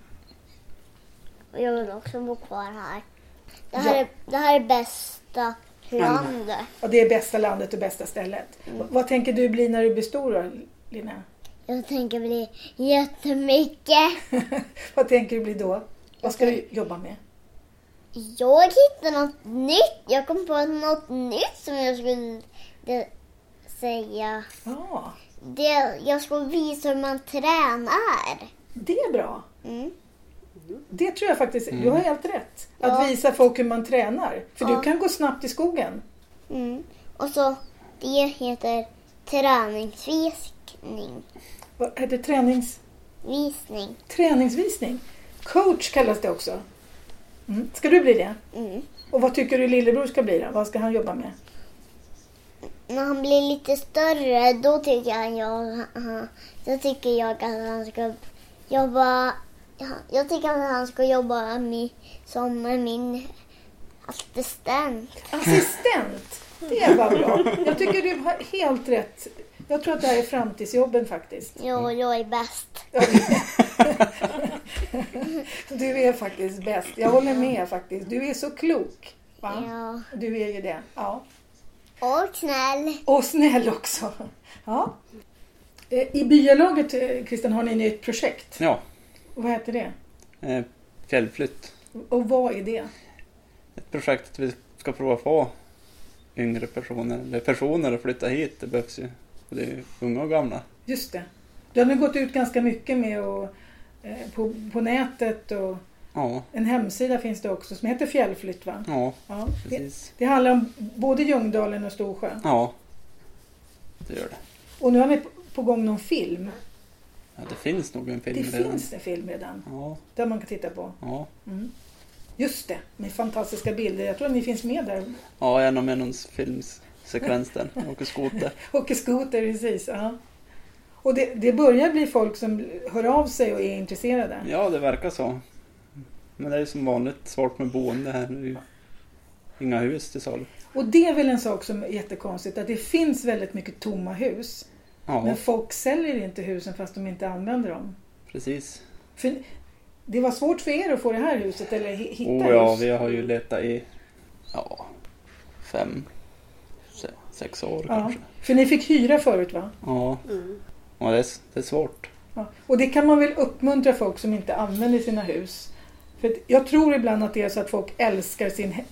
Och jag vill också bo kvar här. Det
Ja.
här, är, det här är bästa landet.
Och det är bästa landet och bästa stället. V- Vad tänker du bli när du blir stor då, Linnea?
Jag tänker bli jättemycket.
Vad tänker du bli då? Vad ska du jobba med?
Jag hittade något nytt. Jag kom på något nytt som jag skulle de- säga.
Ja,
Det, jag skulle visa hur man tränar.
det är bra. Mm.
Mm.
Det tror jag faktiskt. Du har helt rätt. Att
Ja.
visa folk hur man tränar. För
Ja.
du kan gå snabbt i skogen.
Mm. Och så, det heter träningsvisning.
Vad heter det? tränings...
Visning.
träningsvisning? Coach kallas det också. Mm. Ska du bli det?
Mm.
Och vad tycker du lillebror ska bli då? Vad ska han jobba med?
När han blir lite större, då tycker jag, jag, han- då tycker jag att han ska jobba... ja, Jag tycker att han ska jobba med, som min assistent.
Assistent! Det var bra. Jag tycker du har helt rätt. Jag tror att det här är framtidsjobben faktiskt.
Ja, jag är bäst.
Du är faktiskt bäst. Jag håller med faktiskt. Du är så klok. Va?
Ja.
Du är ju det. Ja.
Och snäll.
Och snäll också. Ja. Eh, I byalaget, eh, Christian, har ni ett nytt projekt.
Ja,
Vad heter det?
eh, fjällflytt.
Och vad är det?
Ett projekt att vi ska prova få yngre personer, eller personer att flytta hit. Det behövs ju. Och det är ju unga och gamla.
Just det. Du har nu gått ut ganska mycket med och, eh, på, på nätet och
Ja,
En hemsida finns det också som heter Fjällflytt va?
ja,
Ja, det,
precis.
det handlar om både Ljungdalen och Storsjö.
Ja, det gör det.
Och nu har ni på- på gång någon film.
Ja, det finns nog en film
Det
redan.
finns en film redan.
Ja,
Där man kan titta på.
ja.
Mm. Just det, med fantastiska bilder. Jag tror att ni finns med där.
Ja, en av Menons filmsekvens där. Han Åker skoter.
Åker skoter precis. Ja. Och det, det börjar bli folk som hör av sig och är intresserade.
Ja, det verkar så. Men det är ju som vanligt svårt med boende här. Det är ju inga hus till salu.
Och det är väl en sak som är jättekonstigt. Att det finns väldigt mycket tomma hus.
Ja,
Men folk säljer inte husen fast de inte använder dem.
precis.
För det var svårt för er att få det här huset eller hi- hitta
Oh ja,
hus.
vi har ju letat i ja, fem, se- sex år
Ja,
kanske.
för ni fick hyra förut va?
Ja,
Mm.
och det är, s- det är svårt.
Ja. Och det kan man väl uppmuntra folk som inte använder sina hus. För att jag tror ibland att det är så att folk älskar sin, he-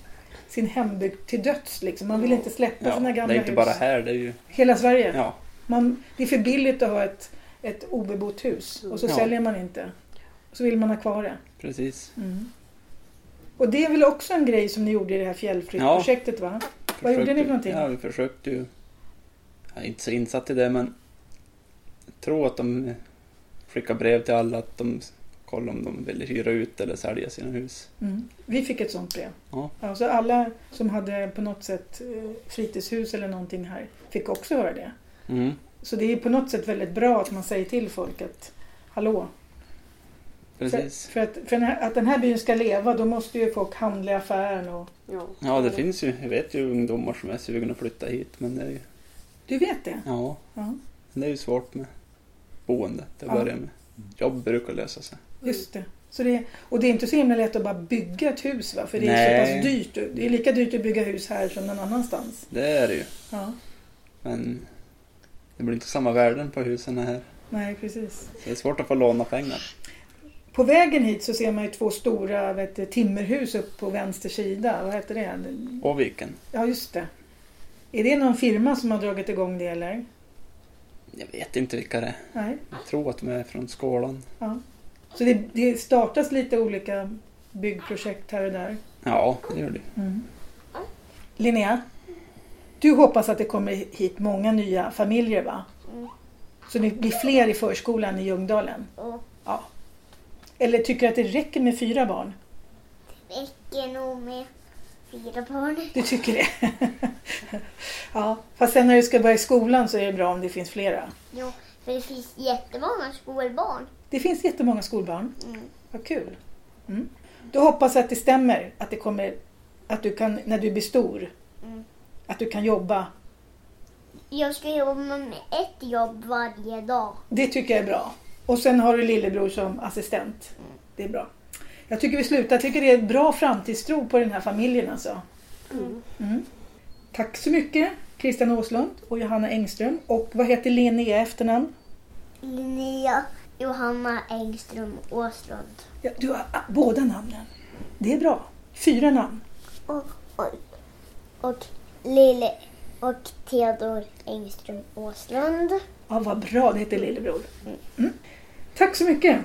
sin hembygd till döds. Liksom. Man vill inte släppa
Ja, det
sina gamla
är inte
hus.
bara här, det är ju...
Hela Sverige.
Ja,
Man, det är för billigt att ha ett, ett obebott hus och så
Ja.
säljer man inte. Så vill man ha kvar det.
precis.
Mm. Och det är väl också en grej som ni gjorde i det här fjällflyttprojektet va? Vad gjorde ni för någonting?
Ja, vi försökte ju... Jag är inte så insatt i det, men... Jag tror att de skickade brev till alla att de kollade om de ville hyra ut eller sälja sina hus.
Mm. Vi fick ett sånt brev.
Ja.
Alltså alla som hade på något sätt eh, fritidshus eller någonting här fick också höra det.
Mm.
Så det är på något sätt väldigt bra att man säger till folk att hallå. För,
Precis.
för, att, för den här, att den här byn ska leva då måste ju folk handla i affären. Och,
Ja.
Ja, det finns ju... Jag vet ju ungdomar som är sugna att flytta hit, men det är ju...
du vet det?
Ja,
Ja,
men det är ju svårt med boende till att
Ja.
börja med. Jobb brukar lösa sig.
just det. Så det. Och det är inte så himla lätt att bara bygga ett hus va? För det är så
Nej.
pass dyrt. Det är lika dyrt att bygga hus här som någon annanstans.
Det är det ju.
Ja,
Men... Det blir inte samma värden på husen här.
nej precis.
Så det är svårt att få låna pengar.
På vägen hit så ser man ju två stora vet, du, timmerhus upp på vänster sida. Vad heter det?
Och viken.
Ja, just det. Är det någon firma som har dragit igång det eller?
Jag vet inte vilka det är.
Nej.
Jag tror att de är från Skålan.
Ja. Så det, det startas lite olika byggprojekt här och där.
Ja, det gör det.
Linnea, du hoppas att det kommer hit många nya familjer va?
Mm.
Så det blir fler i förskolan i Ljungdalen?
Och
Ja. Eller tycker du att det räcker med fyra barn?
räcker nog med fyra barn.
Du tycker det? ja, fast sen när du ska börja i skolan så är det bra om det finns flera.
Jo, för det finns jättemånga skolbarn.
Det finns jättemånga skolbarn.
Mm.
Vad kul. Mm. Då hoppas jag att det stämmer att det kommer, att du kan, när du blir stor,
Mm.
att du kan jobba.
Jag ska jobba med ett jobb varje dag.
Det tycker jag är bra. Och sen har du lillebror som assistent. Det är bra. Jag tycker vi slutar. Jag tycker det är ett bra framtidstro på den här familjen alltså.
Mm.
Mm. Tack så mycket Christian Åslund och Johanna Engström. Och vad heter Linnea i efternamn?
Linnea Johanna Engström Åslund.
Ja, du har ah, båda namnen. Det är bra. Fyra namn.
Och, och, och Lille och Theodor Engström Åslund.
Ja, vad bra det heter lillebror. Mm. Tack så mycket.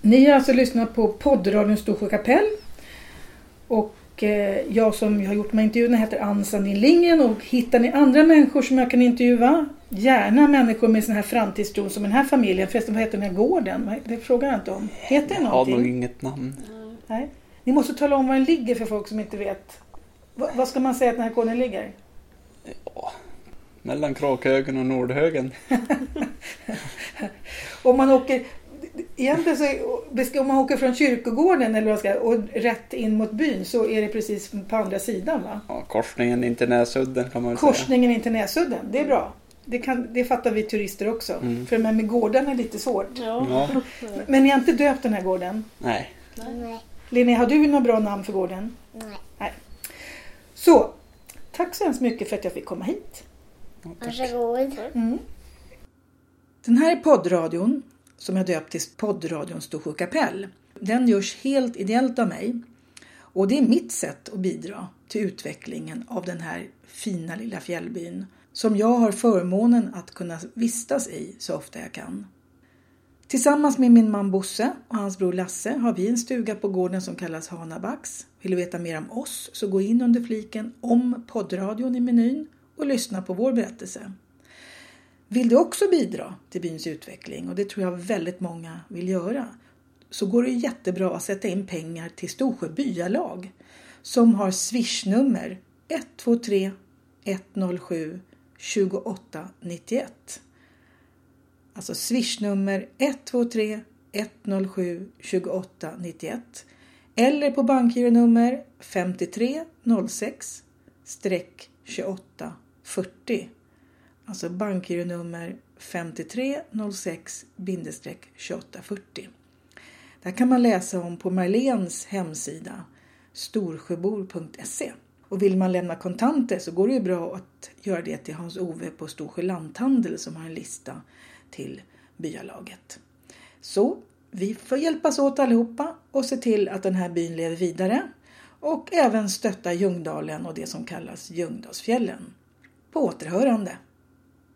Ni har alltså lyssnat på poddradion Storsjö kapell. Och eh, jag som har gjort de här intervjuerna heter Ann Sandin Lindgren och hittar ni andra människor som jag kan intervjua, gärna människor med sån här framtidstro som den här familjen. Förresten, vad heter den här gården? Vad- Det frågar jag inte om. Heter den
Jag har nog
någonting?
inget namn.
Nej. Ni måste tala om var den ligger för folk som inte vet. Va, vad ska man säga att den här gården ligger?
Ja. Mellan Kråkhögen och Nordhögen.
Om man åker, egentligen så är, om man åker från kyrkogården eller vad ska, jag- och rätt in mot byn så är det precis på andra sidan va?
Ja, korsningen in till Näsudden kan man väl säga.
Korsningen in till Näsudden, det är bra. Det, kan, det fattar vi turister också.
Mm.
För det här med gården är lite svårt.
Ja.
Ja,
Men ni har inte döpt den här gården?
nej.
Nej.
Linnea, har du några bra namn för gården?
Nej.
Så, tack så hemskt mycket för att jag fick komma hit.
Ja, tack.
Varsågod.
Den här poddradion, som jag döpt till poddradion Storsjö kapell, den görs helt ideellt av mig. Och det är mitt sätt att bidra till utvecklingen av den här fina lilla fjällbyn som jag har förmånen att kunna vistas i så ofta jag kan. Tillsammans med min man Bosse och hans bror Lasse har vi en stuga på gården som kallas Hanabacks. Vill du veta mer om oss så gå in under fliken om poddradion i menyn och lyssna på vår berättelse. Vill du också bidra till byns utveckling och det tror jag väldigt många vill göra så går det jättebra att sätta in pengar till Storsjö byalag som har swishnummer 123 107 2891. Alltså swishnummer 123 107 2891 eller på bankgironummer 5306 2840. Alltså bankgironummer 5306 2840. Där kan man läsa om på Marlens hemsida storsjöbor.se. Och vill man lämna kontanter så går det ju bra att göra det till Hans-Ove på Storsjö lanthandel som har en lista till byalaget. Så vi får hjälpas åt allihopa och se till att den här byn lever vidare och även stötta Ljungdalen och det som kallas Ljungdalsfjällen. På återhörande!